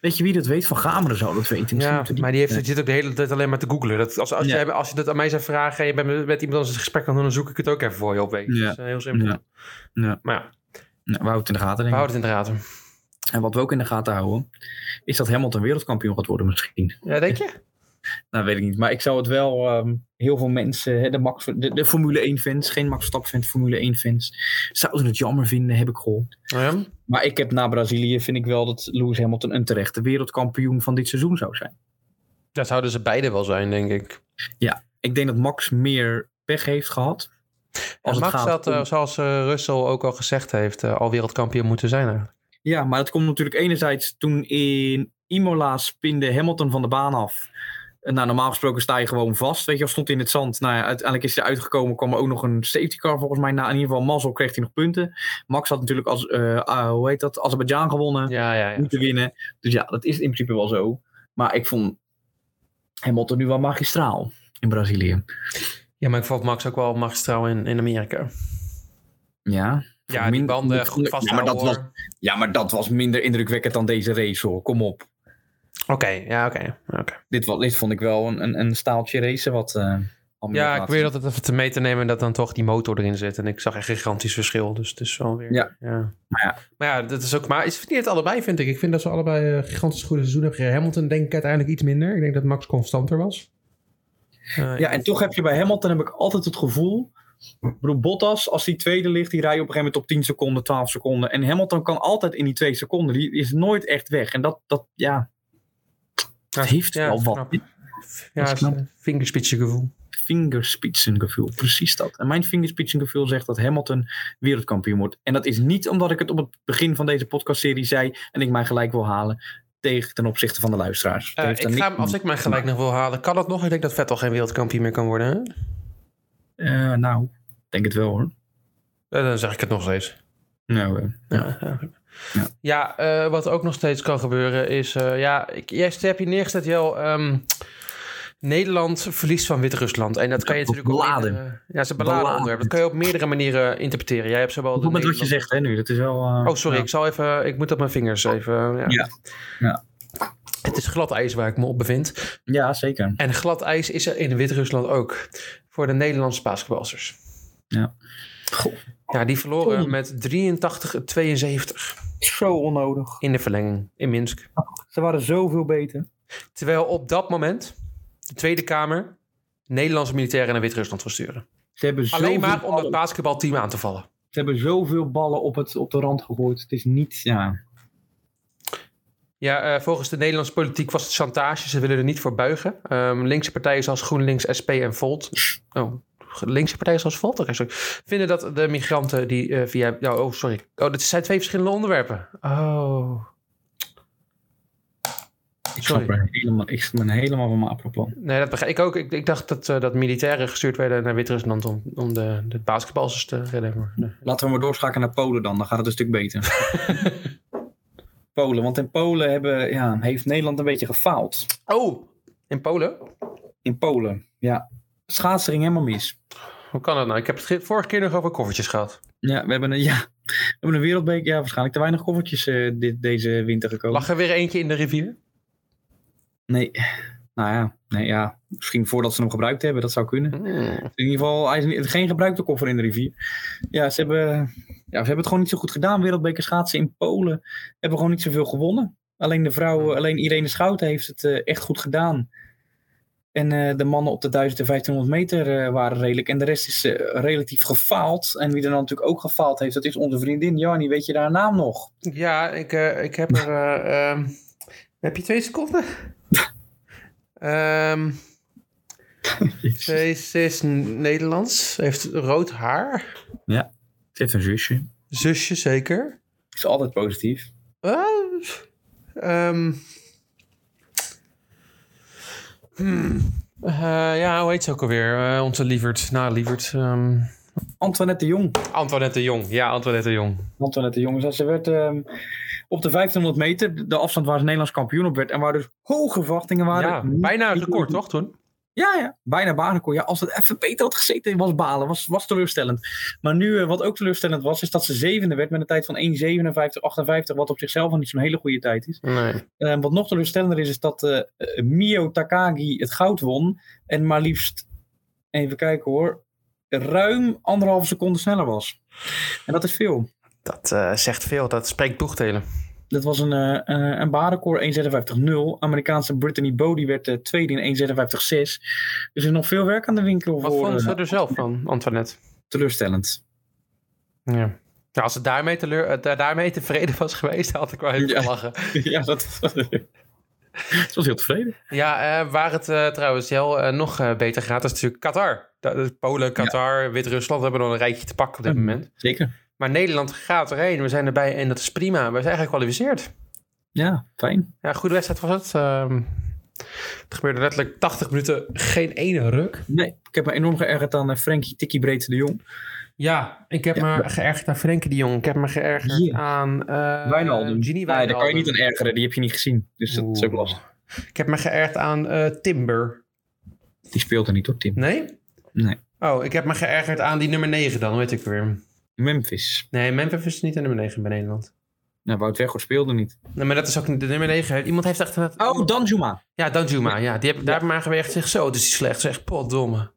Weet je wie dat weet? Van Gameren zou dat weten. Misschien
Ja,
moeten die-
maar die heeft, zit ook de hele tijd alleen maar te googlen. Dat, als, als,
Ja.
jij, als je dat aan mij zou vragen en je bent met, met iemand anders in gesprek kan doen, dan zoek ik het ook even voor je op. weet je.
Ja.
Dat is eh, heel simpel.
Ja. Ja.
Maar ja,
Nou, we houden het in de gaten,
we
denk ik.
houden het in de gaten.
En wat we ook in de gaten houden, is dat Hamilton wereldkampioen gaat worden misschien.
Ja, denk je?
Nou, weet ik niet. Maar ik zou het wel ehm, heel veel mensen, hè, de, Max, de, de Formule 1-fans, geen Max Verstappen-fans, Formule 1-fans, zouden het jammer vinden, heb ik gehoord.
Ja.
Maar ik heb na Brazilië vind ik wel dat Lewis Hamilton een terechte wereldkampioen van dit seizoen zou zijn.
Dat zouden ze beide wel zijn, denk ik.
Ik denk dat Max meer pech heeft gehad. Als het
Max
gaat
had,
om-
eh, zoals eh, Russell ook al gezegd heeft, eh, al wereldkampioen moeten zijn. eigenlijk.
Ja, maar dat komt natuurlijk enerzijds toen in Imola spinde Hamilton van de baan af. En nou, normaal gesproken sta je gewoon vast. Weet je, of stond hij in het zand. Nou ja, uiteindelijk is hij uitgekomen. Kwam er ook nog een safety car volgens mij. Na in ieder geval mazzel kreeg hij nog punten. Max had natuurlijk als, eh, ah, hoe heet dat, Azerbeidzjan gewonnen.
Ja, ja, ja.
moeten winnen. Dus ja, dat is in principe wel zo. Maar ik vond Hamilton nu wel magistraal in Brazilië.
ja, maar ik vond Max ook wel magistraal in, in Amerika.
Ja.
Ja, die
Min-
banden goed
Ja, maar
vasthouden.
dat was,
hoor.
ja, maar dat was minder indrukwekkend dan deze race hoor. Kom op.
Oké, ja, oké. oké.
Dit, wa- dit vond ik wel een, een, een staaltje racen wat... eh,
Ja, ik probeer altijd even te mee te nemen en dat dan toch die motor erin zit. En ik zag echt een gigantisch verschil. Dus het is wel weer.
Ja.
Maar, ja. maar ja, dat is ook. Maar is verdienen het allebei, vind ik. Ik vind dat ze allebei eh, gigantisch goede seizoen hebben gereden. Hamilton, denk ik uiteindelijk iets minder. Ik denk dat Max constanter was. Eh,
Ja, en toch heb je bij Hamilton heb ik altijd het gevoel. Ik bedoel, Bottas, als die tweede ligt, die rijdt op een gegeven moment op 10 seconden, 12 seconden. En Hamilton kan altijd in die 2 seconden. Die is nooit echt weg. En dat, dat ja. Dat
Ja,
heeft
ja,
wel wat.
knap. ja,
is
het is
knap.
een vingerspitsengevoel.
Fingerspitsengevoel, precies dat. En mijn fingerspitsengevoel zegt dat Hamilton wereldkampioen wordt. En dat is niet omdat ik het op het begin van deze podcastserie zei en ik mij gelijk wil halen tegen ten opzichte van de luisteraars. Dat
Eh,
heeft
ik
daar
ga,
niks-
als ik mijn gelijk nog wil halen, kan dat nog? Ik denk dat Vettel geen wereldkampioen meer kan worden. Hè?
Eh, nou, ik denk het wel hoor.
Eh, dan zeg ik het nog steeds.
Nou, eh,
Ja, ja.
Ja.
Ja, eh, wat ook nog steeds kan gebeuren is... eh, ja, ik, jij hebt hier neergezet, Jel. ehm, Nederland verliest van Wit-Rusland. En dat kan je natuurlijk... ook
Beladen.
meerdere- ja, ze beladen
Beladen.
onderwerp. Dat kan je op meerdere manieren interpreteren. Jij hebt zowel...
op
de
het moment wat je
Nederland-
zegt hè, nu, dat is wel... eh,
Oh, sorry,
ja.
ik zal even... Ik moet op mijn vingers even... Ja.
Ja. Ja.
Het is glad ijs waar ik me op bevind.
Ja, zeker.
En glad ijs is er in Wit-Rusland ook. Voor de Nederlandse basketbalsters.
Ja.
Ja, die verloren
Oei.
met 83-72
Zo onnodig.
in de verlenging in Minsk.
Ze waren zoveel beter.
Terwijl op dat moment de Tweede Kamer Nederlandse militairen naar Wit-Rusland wil sturen.
Ze hebben, zoveel
Alleen maar om dat
ballen,
basketbalteam aan te vallen.
ze hebben zoveel ballen op, het, op de rand gegooid. Het is niet... Ja,
Ja, eh, volgens de Nederlandse politiek was het chantage. Ze willen er niet voor buigen. Ehm, linkse partijen zoals GroenLinks, SP en Volt. Oh, linkse partijen zoals Volt? Oké, sorry. Vinden dat de migranten die eh, via. ja, oh, sorry. Oh, dat zijn twee verschillende onderwerpen. Oh.
ik
Sorry.
snap er helemaal, ik ben helemaal van mijn apropos.
Nee, dat begrijp ik ook. Ik, ik dacht dat, eh, dat militairen gestuurd werden naar Wit-Rusland om, om de, de basketballers te redden. maar, nee.
Laten we maar doorschakelen naar Polen dan. Dan gaat het een stuk beter. Polen, want in Polen hebben, ja, heeft Nederland een beetje gefaald.
Oh, in Polen?
In Polen, ja. Schaatsering helemaal mis.
Hoe kan dat nou? Ik heb het ge- vorige keer nog over koffertjes gehad.
Ja, we hebben een, ja, we hebben een wereldbeker. Ja, waarschijnlijk te weinig koffertjes eh, dit, deze winter gekomen.
Lag er weer eentje in de rivier?
Nee, nou ja, nee, ja. Misschien voordat ze hem gebruikt hebben, dat zou kunnen.
Hmm.
In ieder geval, hij is niet- geen gebruikte koffer in de rivier. Ja, ze hebben, ja, ze hebben het gewoon niet zo goed gedaan. Wereldbeker schaatsen in Polen hebben gewoon niet zoveel gewonnen. Alleen de vrouwen, alleen Irene Schouten heeft het eh, echt goed gedaan. En eh, de mannen op de 1000 en 1500 meter eh, waren redelijk. En de rest is eh, relatief gefaald. En wie er dan natuurlijk ook gefaald heeft, dat is onze vriendin Jannie. Weet je haar naam nog?
Ja, ik, eh, ik heb er... eh, ehm, heb je twee seconden? Ehm, ze, is, ze is Nederlands, ze heeft rood haar.
Ze heeft een zusje.
Zusje zeker.
Is altijd positief.
Eh, ehm. Hmm. Eh, ja, hoe heet ze ook alweer? Eh, onze lieverd, na lieverd. ehm,
Antoinette de Jong.
Antoinette de Jong. Ja, Antoinette de Jong.
Antoinette de Jong. is dat Ze werd ehm, op de 1500 meter, de afstand waar ze Nederlands kampioen op werd. En waar dus hoge verwachtingen waren.
ja,
Niet-
bijna
niet-
record, toch, toen?
Ja, ja. Bijna baanrecord. Ja, als het even beter had gezeten, was balen. Was, was teleurstellend. Maar nu, eh, wat ook teleurstellend was, is dat ze zevende werd met een tijd van 1,57,58. Wat op zichzelf al niet zo'n hele goede tijd is.
Nee.
Eh, wat nog teleurstellender is, is dat eh, eh, Mio Takagi het goud won. En maar liefst, even kijken hoor, ruim anderhalve seconde sneller was. En dat is veel.
Dat eh, zegt veel, dat spreekt boegtelen.
Dat was een, eh eh, een baanrecord 1,56,0. Amerikaanse Brittany Bodie werd eh, tweede in 1,56,6. Dus er is nog veel werk aan de winkel
Wat
voor
vond ze
eh,
er zelf van, Antoinette?
teleurstellend.
Ja. Nou, als ze daarmee, teleur, eh, daar- daarmee tevreden was geweest, had ik wel even
Ja.
gelachen.
ja, dat Ze was heel tevreden.
Ja, eh, waar het eh, trouwens wel eh, nog eh, beter gaat, is natuurlijk Qatar. Da- dat- Polen, Qatar, Wit-Rusland hebben nog een rijtje te pakken op dit
Mhm.
moment.
Zeker.
Maar Nederland gaat erheen, we zijn erbij en dat is prima. We zijn gekwalificeerd.
Ja, fijn.
Ja, goede wedstrijd was het. Ehm, het gebeurde letterlijk 80 minuten, geen ene ruk.
Nee, ik heb me enorm geërgerd aan eh, Frankie Tikkie Breed de Jong.
Ja, ik heb me geërgerd aan Frenkie de Jong. Ik heb me geërgerd
Ja.
aan eh
Wijnaldum.
Genie
Nee, daar kan je
Wijnaldum.
niet aan ergeren. Die heb je niet gezien. Dus dat is ook lastig.
Ik heb me geërgerd aan eh, Timber.
Die speelt er niet op, Tim.
Nee?
Nee.
Oh, ik heb me geërgerd aan die nummer 9 dan, weet ik weer.
Memphis.
Nee, Memphis is niet de nummer 9 bij Nederland.
Nou, Wout Weghorst speelde niet.
Nee, maar dat is ook de nummer 9. Iemand heeft echt... een-
Oh, Danjuma.
Ja, Danjuma. Ja, die heb, daar heb ik maar geweegd. Zeg zo, het is die slecht. Zeg, potdomme.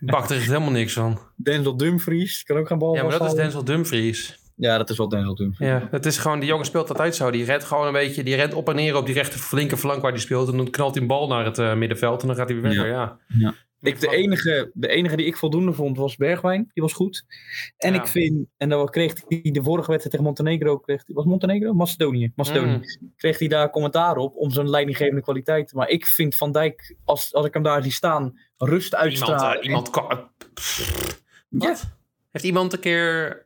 Bakt er echt helemaal niks van.
Denzel Dumfries. Kan ook gaan bal
Ja, maar dat is
vasthouden.
Denzel Dumfries.
Ja, dat is wel Denzel Dumfries.
Ja, het is gewoon... Die jongen speelt dat uit zo. Die rent gewoon een beetje... Die rent op en neer op die rechter flinke flank waar die speelt. En dan knalt hij een bal naar het eh, middenveld. En dan gaat hij weer weg.
Ja.
Ja. ja.
Ik, de, enige, de enige die ik voldoende vond was Bergwijn. Die was goed. En
Ja.
ik vind, en dan kreeg hij de vorige wedstrijd tegen Montenegro. Kreeg, was het Montenegro? Macedonië. Macedonië.
Mm.
Kreeg hij daar commentaar op om zijn leidinggevende kwaliteit. Maar ik vind Van Dijk, als, als ik hem daar zie staan, rust
Iemand,
uitstralen.
eh, iemand kan...
Ja.
Wat? Heeft iemand een keer...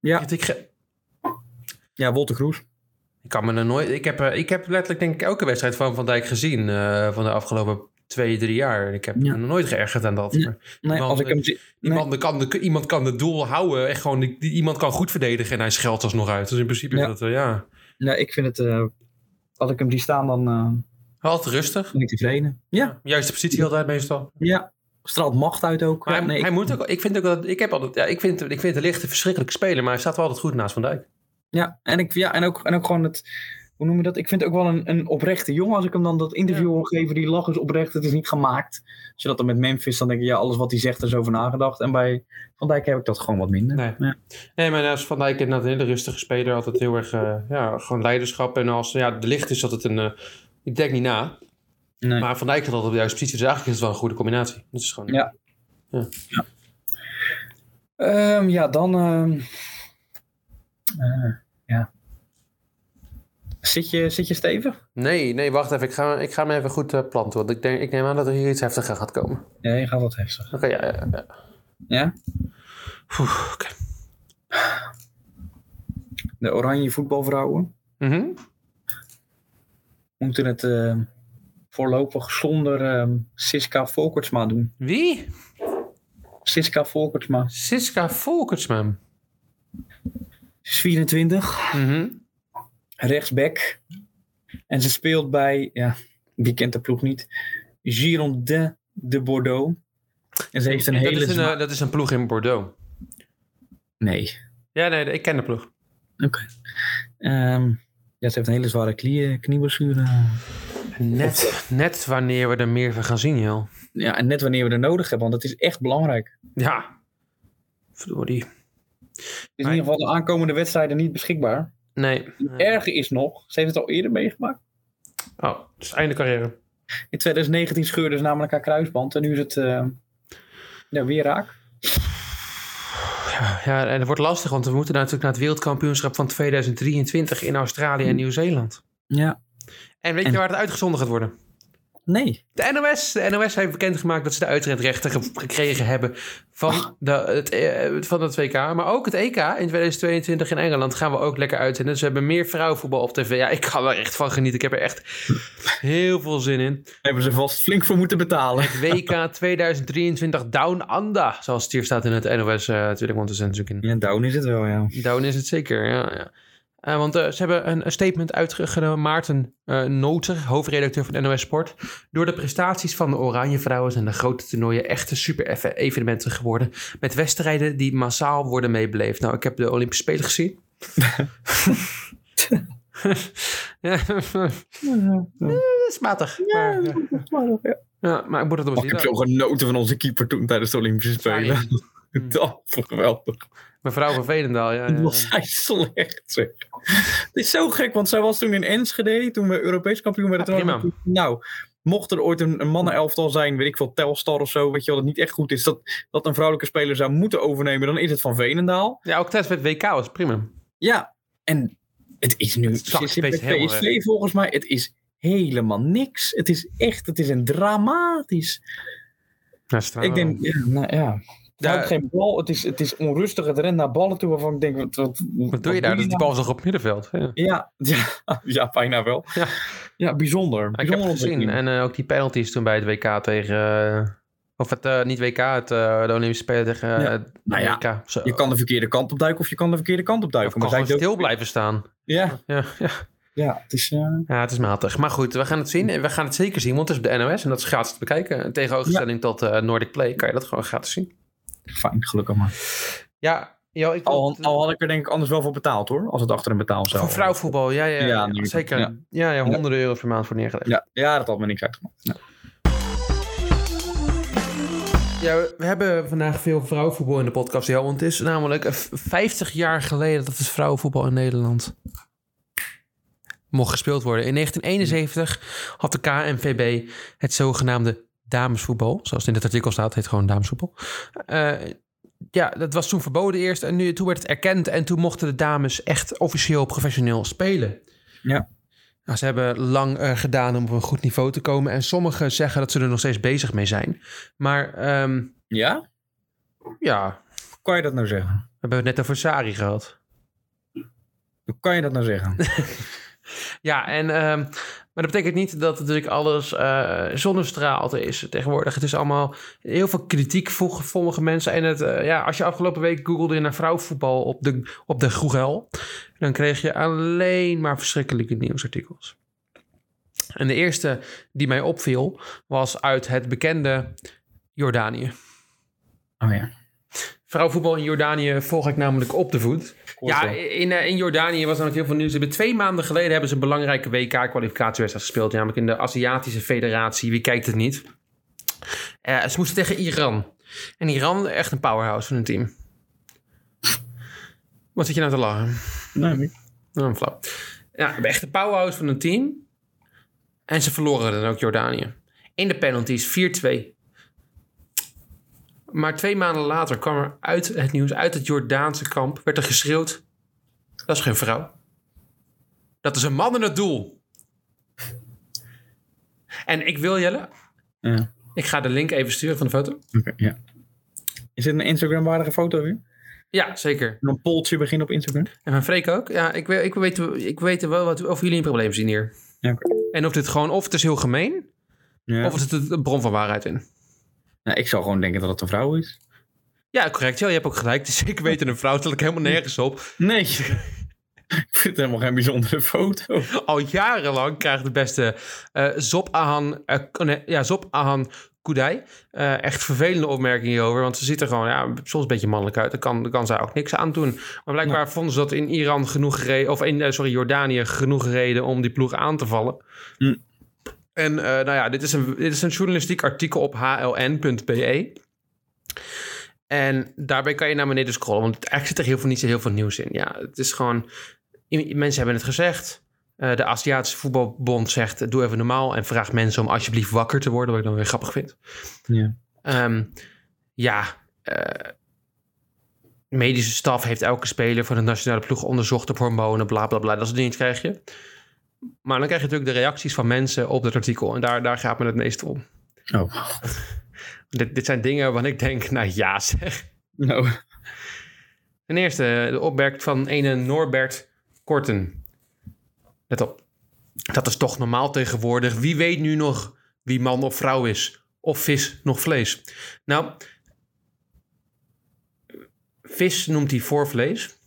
Ja.
Heeft Ik, ge-
Ja, Wolter Kroes.
ik kan me er nooit... Ik heb, eh, ik heb letterlijk denk ik elke wedstrijd van Van Dijk gezien eh, van de afgelopen twee, drie jaar. En ik heb
Ja.
me nooit geërgerd aan dat.
Ja.
Maar
Nee,
Want,
als ik
eh,
hem zie- nee.
Iemand, kan de, iemand kan het doel houden. Echt gewoon, die- die- iemand kan goed verdedigen en hij scheldt alsnog uit. Dus in principe is
Ja.
dat, eh, ja...
Nee, ik vind het. eh, als ik hem zie staan, dan eh,
Altijd rustig.
ben ik tevreden. Ja,
Juiste positie altijd meestal.
ja. Straalt macht uit ook.
Maar
Ja,
hij,
nee,
hij moet ook... Ik vind ook dat... Ik heb altijd... Ja, ik vind, ik vind de licht een verschrikkelijke speler, maar hij staat wel altijd goed naast Van Dijk.
Ja, en, ik, ja, en, ook, en ook gewoon het. Hoe noem je dat? Ik vind het ook wel een, een oprechte jongen. Als ik hem dan dat interview hoor geven, die lach is oprecht. Het is niet gemaakt. Als je dat dan met Memphis, dan denk je, ja, alles wat hij zegt, er is over nagedacht. En bij Van Dijk heb ik dat gewoon wat minder.
Nee.
Ja.
Nee, maar als Van Dijk inderdaad een hele rustige speler. Altijd heel erg, eh, ja, gewoon leiderschap. En als, ja, de licht is altijd een... eh, ik denk niet na.
Nee.
Maar Van Dijk zat altijd op de juiste positie. Dus eigenlijk is het wel een goede combinatie. Dat is gewoon...
Ja. Ehm, ja, dan. ehm, eh, ja. Zit je, zit je stevig?
Nee, nee, wacht even. Ik ga, ik ga me even goed eh, planten. Want ik, denk, ik neem aan dat er hier iets heftiger gaat komen. Oké,
Ja, je gaat wat heftig.
ja, ja, ja.
Ja?
Oeh, oké.
De Oranje voetbalvrouwen
Mhm.
moeten het ehm, voorlopig zonder ehm, Siska Volkertsma doen.
Wie?
Siska Volkertsma.
Siska Volkertsma.
Ze is 24,
Mhm.
rechtsback. En ze speelt bij, ja, wie kent de ploeg niet? Girondin de Bordeaux. En ze heeft een
dat,
hele.
is een,
zwa-
eh, dat is een ploeg in Bordeaux.
Nee.
Ja, nee, ik ken de ploeg.
Oké. Ehm, ja, ze heeft een hele zware knie, eh, knieblessure.
Net, net wanneer we er meer van gaan zien, joh.
Ja, en net wanneer we er nodig hebben, want het is echt belangrijk.
Ja. Verdorie.
Het is in ieder geval de aankomende wedstrijden niet beschikbaar.
Nee.
Erger is nog, ze heeft het al eerder meegemaakt.
Oh, het is einde carrière.
In 2019 scheurde ze namelijk haar kruisband en nu is het eh, ja, weer raak.
Ja, en het wordt lastig, want we moeten natuurlijk naar het wereldkampioenschap van 2023 in Australië en Nieuw-Zeeland.
Ja.
Hm. En weet je
En-
waar het uitgezonden gaat worden?
Nee.
De NOS, de NOS heeft bekendgemaakt dat ze de uitredrechten ge- gekregen hebben van, de, het, eh, van het WK. Maar ook het EK in 2022 in Engeland gaan we ook lekker uitzenden. Dus we hebben meer vrouwenvoetbal op tv. Ja, ik kan er echt van genieten. Ik heb er echt heel veel zin in.
Hebben ze vast flink voor moeten betalen.
Het WK 2023 Down Under, zoals het hier staat in het NOS. eh, natuurlijk, want we zijn natuurlijk
Ja, down is het wel, ja.
in Down is het zeker, ja. ja. Eh, want eh, ze hebben een, een statement uitgenomen. Maarten eh Noter, hoofdredacteur van NOS Sport. Door de prestaties van de Oranje Vrouwen zijn de grote toernooien echte super-evenementen geworden. Met wedstrijden die massaal worden meebeleefd. Nou, ik heb de Olympische Spelen gezien. ja, dat Eh, is matig. Maar, ja. Ja, maar ik moet het op
Oh, ik heb
zien.
zo genoten van onze keeper toen tijdens de Olympische Spelen.
Hmm.
Dat vond ik geweldig.
Mevrouw van Velendaal, ja. ja,
Dat
ja.
was hij slecht, zeg. Het is zo gek, want zij was toen in Enschede, toen we Europees kampioen werden.
Ja,
toen
prima.
hadden we- nou, mocht er ooit een, een mannenelftal zijn, weet ik veel, Telstar of zo, weet je wel, dat niet echt goed is, dat, dat een vrouwelijke speler zou moeten overnemen, dan is het van Venendaal.
Ja, ook tijdens het WK was het prima.
Ja, en het is nu
Het zakt
ze zit bij
opeens helemaal
PSV volgens mij, het is helemaal niks. Het is echt, het is een dramatisch.
Ja, ze staan
Ik
wel.
denk, ja, nou ja.
Ja.
Ja, geen bal. Het is, het is onrustig. Het rent naar ballen toe waarvan ik denk... Wat, wat,
Wat doe je daar?
nou?
Die bal is nog op middenveld. Ja.
Ja, ja, ja bijna wel.
Ja.
Ja, bijzonder.
Ik heb
bijzonder
het gezien.
ontwikkeling.
En eh, ook die penalties toen bij het WK tegen... eh, of het, eh, niet WK, het, eh, de Olympische Spelen tegen eh,
Ja.
het
Nou ja,
WK. Zo.
Je kan de verkeerde kant op duiken of je kan de verkeerde kant op
Of
duiken.
kan
zij
gewoon
dook-
stil blijven staan.
Ja,
Ja, ja.
ja, het is... eh,
ja, het is matig. Maar goed, we gaan het zien. En we gaan het zeker zien, want het is op de NOS. En dat is gratis te bekijken. In tegenstelling tot eh, Nordic Play kan je dat gewoon gratis zien.
fijn, gelukkig maar.
Ja, Ja, ik
Al,
vond-
al had ik er denk ik anders wel voor betaald hoor, als het achter een betaal zou.
voor vrouwvoetbal, ja, ja,
Ja,
ja,
natuurlijk.
zeker. Ja.
Ja.
Ja, honderden euro per maand voor neergelegd.
Ja, ja, dat had me niks uitgemaakt. Nou, Ja.
Ja, we- we hebben vandaag veel vrouwenvoetbal in de podcast, Jo. Want het is namelijk eh, v- 50 jaar geleden dat het vrouwenvoetbal in Nederland mocht gespeeld worden. In 1971 had de KNVB het zogenaamde damesvoetbal. Zoals het in het artikel staat, het heet gewoon damesvoetbal. Eh, ja, dat was toen verboden eerst. En nu, toen werd het erkend. En toen mochten de dames echt officieel professioneel spelen. Nou, ze hebben lang eh, gedaan om op een goed niveau te komen. En sommigen zeggen dat ze er nog steeds bezig mee zijn. Maar ehm,
ja?
ja,
Hoe kan je dat nou zeggen?
we hebben het net over Sari gehad.
Hoe kan je dat nou zeggen?
Ja, en, ehm, maar dat betekent niet dat natuurlijk alles eh zonnestraald is tegenwoordig. Het is allemaal heel veel kritiek voor sommige mensen. En het, eh, ja, als je afgelopen week googelde naar vrouwvoetbal op de, op de Google... dan kreeg je alleen maar verschrikkelijke nieuwsartikels. En de eerste die mij opviel was uit het bekende Jordanië.
Oh ja.
Vrouwenvoetbal in Jordanië volg ik namelijk op de voet. Ja, in, eh, in Jordanië was er ook heel veel nieuws. Ze hebben twee maanden geleden hebben ze een belangrijke WK-kwalificatiewedstrijd gespeeld. Namelijk in de Aziatische Federatie. Wie kijkt het niet? Eh, ze moesten tegen Iran. En Iran, echt een powerhouse van hun team. Wat zit je nou te lachen?
Nee, niet.
Oh, een flauw. Ja, echt een powerhouse van een team. En ze verloren dan ook Jordanië. In de penalties 4-2. Maar twee maanden later kwam er uit het nieuws, uit het Jordaanse kamp, werd er geschreeuwd: dat is geen vrouw. Dat is een man in het doel. En ik wil Jelle,
Ja.
ik ga de link even sturen van de foto.
Oké, ja. Is dit een Instagram-waardige foto weer?
Ja, zeker.
Een polltje beginnen op Instagram?
En van Freek ook. Ja, ik, weet- ik, weet, ik weet wel wat, of jullie een probleem zien hier.
Ja, oké.
En of dit gewoon, of het is heel gemeen,
Ja.
Of er zit een bron van waarheid in?
Nou, ik zou gewoon denken dat het een vrouw is.
Ja, correct. Ja, je hebt ook gelijk. Dus ik weet een vrouw, stel ik helemaal nergens op.
Nee. ik vind het helemaal geen bijzondere foto.
Al jarenlang krijgt de beste eh Zop Ahan, eh, k- nee, ja, Zop Ahan Kudai eh, echt vervelende opmerkingen over. Want ze ziet er gewoon ja, soms een beetje mannelijk uit. Daar kan, daar kan zij ook niks aan doen. Maar blijkbaar vonden ze dat in Iran genoeg reden, of in eh, sorry, Jordanië genoeg reden om die ploeg aan te vallen.
Hm.
En eh, nou ja, dit is, een, dit is een journalistiek artikel op hln.be. E. En daarbij kan je naar beneden scrollen, want eigenlijk zit er heel veel, niet zo heel veel nieuws in. Ja, het is gewoon, i- mensen hebben het gezegd. Eh, de Aziatische Voetbalbond zegt, eh, doe even normaal en vraag mensen om alsjeblieft wakker te worden, wat ik dan weer grappig vind.
Ja.
Ehm, ja, eh, medische staf heeft elke speler van de nationale ploeg onderzocht op hormonen, bla bla bla. Dat soort dingen krijg je. Maar dan krijg je natuurlijk de reacties van mensen op dat artikel. En daar, daar gaat me het meest om.
Oh.
Dit, dit zijn dingen waarvan ik denk, nou ja zeg.
Nou.
Ten eerste de opmerking van ene Norbert Korten. Let op. Dat is toch normaal tegenwoordig. Wie weet nu nog wie man of vrouw is? Of vis nog vlees? Nou, vis noemt hij voor vlees.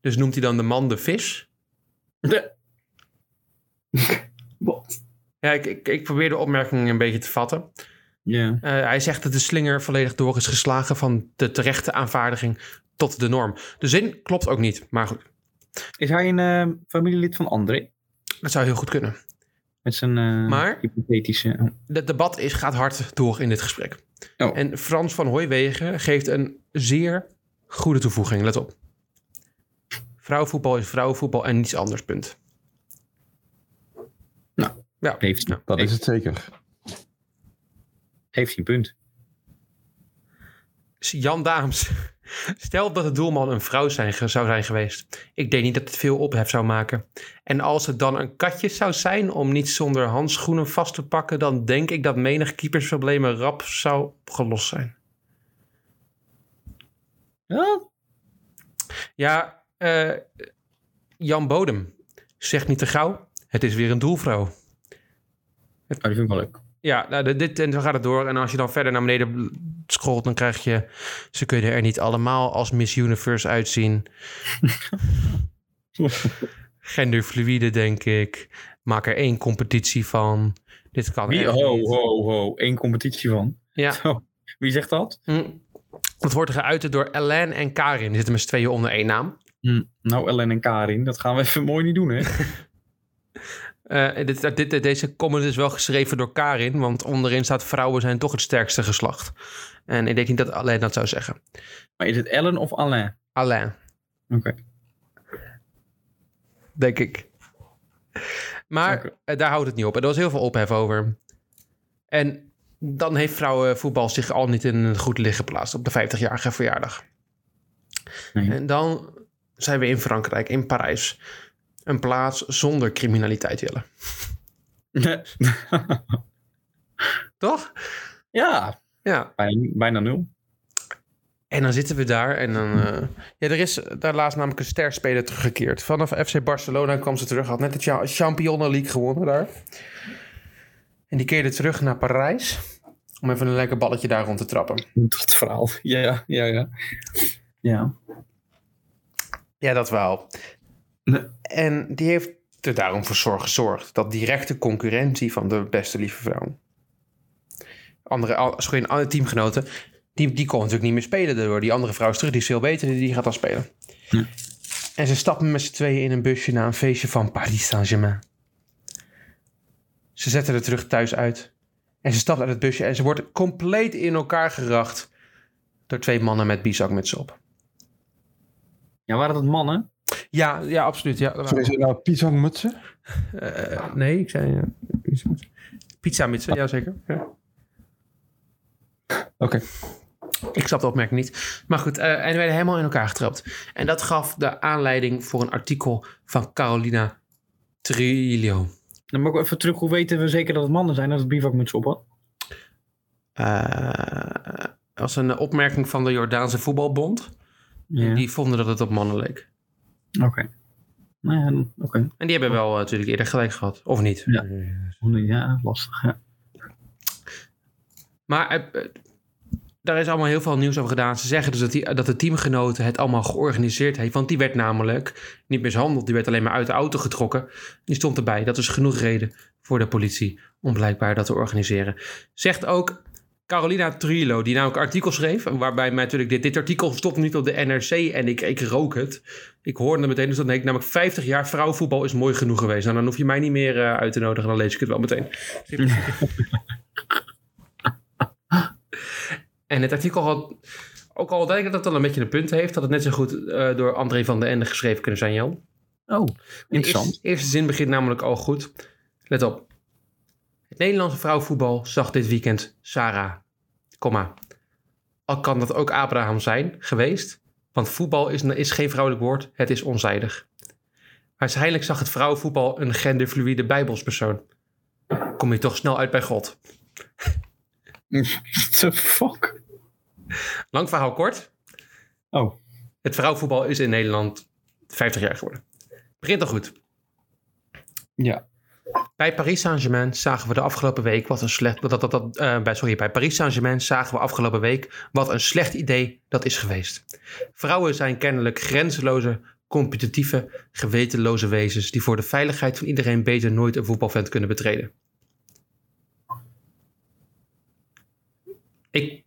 Dus noemt hij dan de man de vis?
De... Wat?
Ja, ik, ik, ik probeer de opmerking een beetje te vatten.
Ja.
Eh, hij zegt dat de slinger volledig door is geslagen van de terechte aanvaardiging tot de norm. De zin klopt ook niet, maar goed,
Is hij een eh, familielid van André?
dat zou heel goed kunnen.
Met zijn eh,
Maar-
hypothetische...
Het debat is, gaat hard door in dit gesprek.
Oh.
En Frans van Hooijwegen geeft een zeer goede toevoeging, let op. Vrouwenvoetbal is vrouwenvoetbal en niets anders, punt.
Nou,
ja.
Heeft,
Nou,
Dat
heeft,
is het zeker.
heeft hij een punt.
Jan Daams. Stel dat de doelman een vrouw zijn, ge- zou zijn geweest. Ik denk niet dat het veel ophef zou maken. En als het dan een katje zou zijn om niet zonder handschoenen vast te pakken, dan denk ik dat menig keepersproblemen rap zou opgelost zijn.
Ja.
Ja, eh, Jan Bodem. Zeg niet te gauw, het is weer een doelvrouw.
Oh, die vind ik wel leuk.
Ja, nou, dit- dit, en zo gaat het door. En als je dan verder naar beneden scrolt, dan krijg je... ze kunnen er niet allemaal als Miss Universe uitzien. Genderfluïde, denk ik. Maak er één competitie van. Dit kan
Wie? Oh,
echt
Ho,
niet.
ho, ho. Eén competitie van. Oh,
Ja.
Wie zegt dat?
Mm. Dat wordt geuit door Ellen en Karin. Die zitten met z'n tweeën onder één naam.
Hm, Nou, Ellen en Karin, dat gaan we even mooi niet doen, hè?
Eh, dit, dit- dit- deze comment is wel geschreven door Karin, want onderin staat vrouwen zijn toch het sterkste geslacht. En ik denk niet dat Alain dat zou zeggen.
Maar is het Ellen of Alain?
Alain,
Oké.
denk ik. Maar
Oké.
eh, daar houdt het niet op. En er was heel veel ophef over. En dan heeft vrouwenvoetbal zich al niet in een goed licht geplaatst op de 50-jarige verjaardag.
Nee.
En dan zijn we in Frankrijk, in Parijs. Een plaats zonder criminaliteit, Jelle. Toch?
ja,
Ja,
bijna, bijna nul.
En dan zitten we daar en dan... eh, ja, er is daar laatst namelijk een sterspeler teruggekeerd. Vanaf FC Barcelona kwam ze terug. Had net de Cha- Champions League gewonnen daar. En die keerde terug naar Parijs. Om even een lekker balletje daar rond te trappen.
Dat verhaal. Ja, ja, ja. Ja.
Ja, dat wel.
Nee.
En die heeft er daarom voor zorg gezorgd. Dat directe concurrentie van de beste lieve vrouw. Andere, al- sorry, andere teamgenoten. Die, die kon natuurlijk niet meer spelen daardoor. Die andere vrouw is terug. Die is veel beter. Die die gaat dan spelen.
Ja.
En ze stappen met z'n tweeën in een busje naar een feestje van Paris Saint-Germain. Ze zetten er terug thuis uit. En ze stapt uit het busje en ze wordt compleet in elkaar geracht. Door twee mannen met bizakmutsen op.
Ja, waren dat mannen?
Ja, ja, absoluut. Ja, dat
Sorry, zijn nou pizangmutsen?
Eh, nee, ik zei eh, pizza mutsen. Pizza mutsen, jazeker. Ja.
Oké.
Ik snap de opmerking niet. Maar goed, eh, en we werden helemaal in elkaar getrapt. En dat gaf de aanleiding voor een artikel van Carolina Trillo.
Dan moet ik even terug. Hoe weten we zeker dat het mannen zijn dat het bivakmuts op had?
Eh als een opmerking van de Jordaanse voetbalbond.
Ja.
Die vonden dat het op mannen leek.
Oké. Nou ja, dan- oké.
En die hebben wel eh, natuurlijk eerder gelijk gehad. Of niet?
Ja. Ja, lastig. Ja.
Maar eh, eh, daar is allemaal heel veel nieuws over gedaan. Ze zeggen dus dat, die, dat de teamgenoten het allemaal georganiseerd heeft. Want die werd namelijk niet mishandeld. Die werd alleen maar uit de auto getrokken. Die stond erbij. Dat is genoeg reden voor de politie om blijkbaar dat te organiseren. Zegt ook Carolina Trujillo, die namelijk een artikel schreef. Waarbij mij natuurlijk dit, dit artikel stond niet op de NRC en ik, ik rook het. Ik hoorde het meteen, dus dan denk ik namelijk 50 jaar vrouwenvoetbal is mooi genoeg geweest. Nou, dan hoef je mij niet meer eh, uit te nodigen, dan lees ik het wel meteen. En het artikel had ook al denk ik dat het dan een beetje een punt heeft, had het net zo goed eh, door André van den Ende geschreven kunnen zijn, Jan.
Oh,
De eerste,
interessant.
eerste zin begint namelijk al goed. Let op. Het Nederlandse vrouwenvoetbal zag dit weekend Sarah, comma. Al kan dat ook Abraham zijn geweest, want voetbal is, is geen vrouwelijk woord, het is onzijdig. Waarschijnlijk zag het vrouwenvoetbal een genderfluïde bijbelspersoon. Kom je toch snel uit bij God.
What the fuck?
Lang verhaal kort.
Oh.
Het vrouwenvoetbal is in Nederland 50 jaar geworden. Begint al goed.
Ja.
Bij Paris Saint-Germain zagen we de afgelopen week wat een slecht. Dat, dat, dat, eh, bij, sorry, bij Paris Saint-Germain zagen we afgelopen week wat een slecht idee dat is geweest. Vrouwen zijn kennelijk grenzeloze, competitieve, gewetenloze wezens die voor de veiligheid van iedereen beter nooit een voetbalveld kunnen betreden. Ik.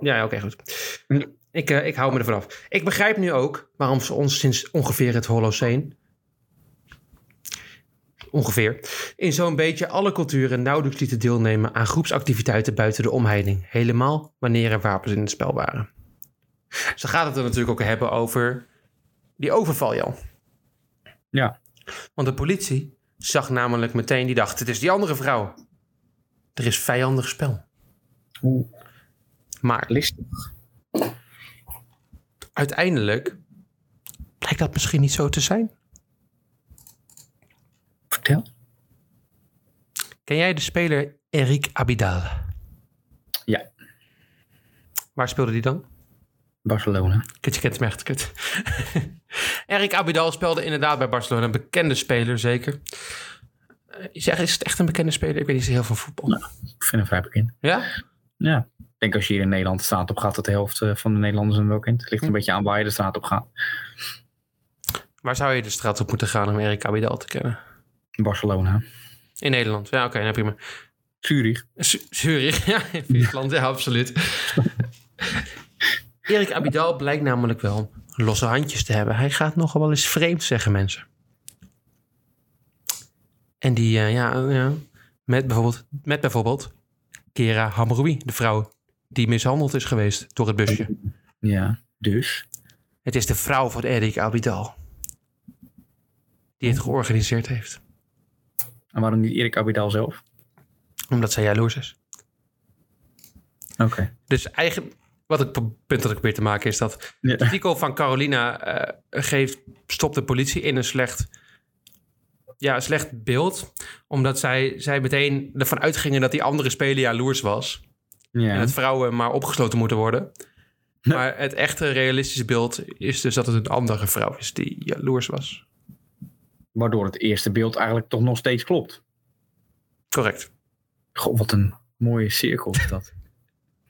Ja, oké, goed. Ik, eh, ik hou me er vanaf. Ik begrijp nu ook waarom ze ons sinds ongeveer het Holoceen. Ongeveer. In zo'n beetje alle culturen nauwelijks lieten deelnemen aan groepsactiviteiten buiten de omheiding. Helemaal wanneer er wapens in het spel waren. Ze gaat het er natuurlijk ook hebben over die overval, Jan.
Ja.
Want de politie zag namelijk meteen, die dacht: het is die andere vrouw. Er is vijandig spel.
Oeh.
Maar
Listig.
uiteindelijk blijkt dat misschien niet zo te zijn.
Vertel.
Ken jij de speler Eric Abidal?
Ja.
Waar speelde die dan?
Barcelona.
Kut, je kent hem echt, kut. Eric Abidal speelde inderdaad bij Barcelona. Een bekende speler, zeker. Eh, Is het echt- is het echt een bekende speler? Ik weet niet zo heel veel van voetbal.
Ik vind hem vrij bekend.
Ja?
Ja. Ik denk als je hier in Nederland de straat op gaat, dat de helft eh, van de Nederlanders hem wel kent. Het ligt een beetje aan waar je de straat op gaat.
Waar zou je de straat op moeten gaan om Eric Abidal te kennen?
Barcelona.
In Nederland. Ja, oké, nou prima.
Zurich.
Z- Zurich, ja, in Friesland, ja, absoluut. Erik Abidal blijkt namelijk wel losse handjes te hebben. Hij gaat nogal wel eens vreemd, zeggen mensen. En die, eh, ja, eh, ja, met bijvoorbeeld, met bijvoorbeeld Kera Hamroui, de vrouw die mishandeld is geweest door het busje.
Ja, dus.
Het is de vrouw van Erik Abidal. Die het georganiseerd heeft.
En waarom niet Erik Abidal zelf?
Omdat zij jaloers is.
Oké.
Dus eigenlijk, wat het punt dat ik probeer te maken is dat...
Ja.
het artikel van Carolina eh, geeft, stopt de politie in een slecht, ja, een slecht beeld. Omdat zij, zij meteen ervan uitgingen dat die andere speler jaloers was.
Ja.
En dat vrouwen maar opgesloten moeten worden.
Ja.
Maar het echte realistische beeld is dus dat het een andere vrouw is die jaloers was.
Waardoor het eerste beeld eigenlijk toch nog steeds klopt.
Correct.
Goh, wat een mooie cirkel is dat.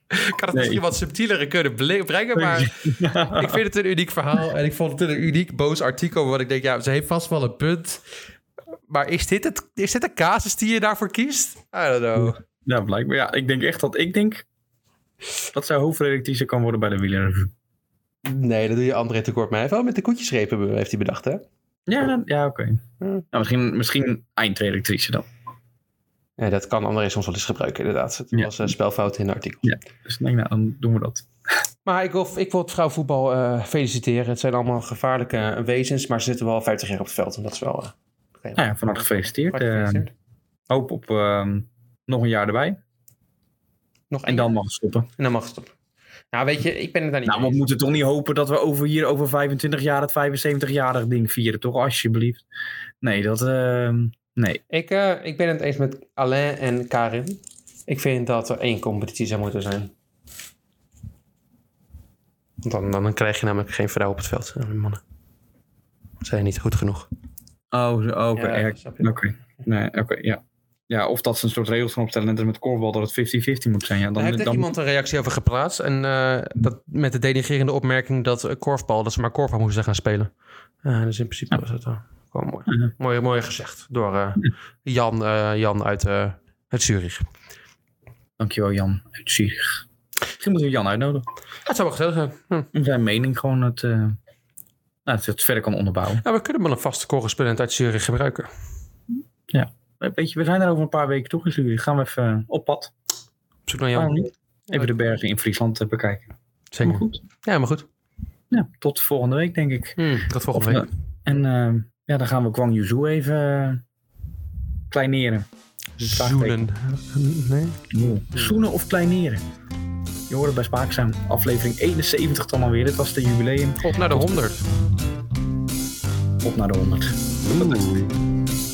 Ik had het
Nee.
misschien wat subtielere kunnen bele- brengen, maar ik vind het een uniek verhaal. En ik vond het een uniek boos artikel, want ik denk, ja, ze heeft vast wel een punt. Maar is dit, het, is dit de casus die je daarvoor kiest? I don't know.
ja, blijkbaar. Ja, ik denk echt dat ik denk dat zij hoofdredactrice kan worden bij de wielerreview.
Nee, dat doe je André tekort. Maar hij heeft wel met de koetjesrepen, heeft hij bedacht, hè?
Ja, dan- ja oké. Nou, misschien, misschien eindredactrice dan.
Ja, dat kan André soms wel eens gebruiken, inderdaad. Het
Ja.
was een spelfout in het artikel.
Dus nee, nou, dan doen we dat.
Maar ik wil, ik wil het vrouwvoetbal eh, feliciteren. Het zijn allemaal gevaarlijke eh, wezens, maar ze zitten wel 50 jaar op het veld. En dat is wel... eh,
Nou ja, van harte gefeliciteerd.
hard gefeliciteerd.
Eh, hoop op ehm, nog een jaar erbij.
Nog
En dan mag het stoppen.
En dan mag het stoppen. Nou, weet je, ik ben het daar niet
Nou,
mee
we
eens.
moeten toch niet hopen dat we over hier over 25 jaar het 75-jarig ding vieren, toch? Alsjeblieft. Nee, dat... ehm, nee.
Ik, eh, ik ben het eens met Alain en Karin. Ik vind dat er één competitie zou moeten zijn. Want dan, dan krijg je namelijk geen vrouw op het veld. eh, Mannen. Zijn niet goed genoeg.
Oh, zo- oké.
Ja,
erg.
snap je.
Oké, nee, oké, ja. Ja, of dat ze een soort regels gaan opstellen, net als met korfbal, dat het 50-50 moet zijn. Ja,
Daar
dan,
heeft echt
dan,
iemand een reactie over geplaatst. En eh, dat met de denigrerende opmerking dat eh, korfbal, dat ze maar korfbal moesten gaan spelen. Eh, dus in principe was het wel gewoon mooi.
Ja.
mooi. Mooi gezegd door eh, Jan, eh, Jan uit, eh uit Zurich.
Dankjewel, Jan. Uit Zurich. Misschien moeten we Jan uitnodigen.
Ja, het zou wel gezellig zijn. Hm.
Om zijn mening gewoon het, eh, nou, dat het verder kan onderbouwen.
Nou, we kunnen wel een vaste correspondent uit Zurich gebruiken.
Eh, Weet je, we zijn er over een paar weken toch in Zurich. Gaan we even eh, op pad.
Op zoek naar
Waarom
Jan.
niet? Even de bergen in Friesland eh, bekijken. Maar
Zeker.
goed.
Ja, maar goed.
Ja, tot volgende week, denk ik.
Hm, tot volgende
Of,
week.
En eh, ja, dan gaan we Kwang Yuzu even eh, kleineren.
Zoenen. Nee?
Zoenen of kleineren? Je hoort het bij Spaakzaam. Aflevering 71 dan alweer. Dit was de jubileum.
Op naar de 100.
Op naar de 100.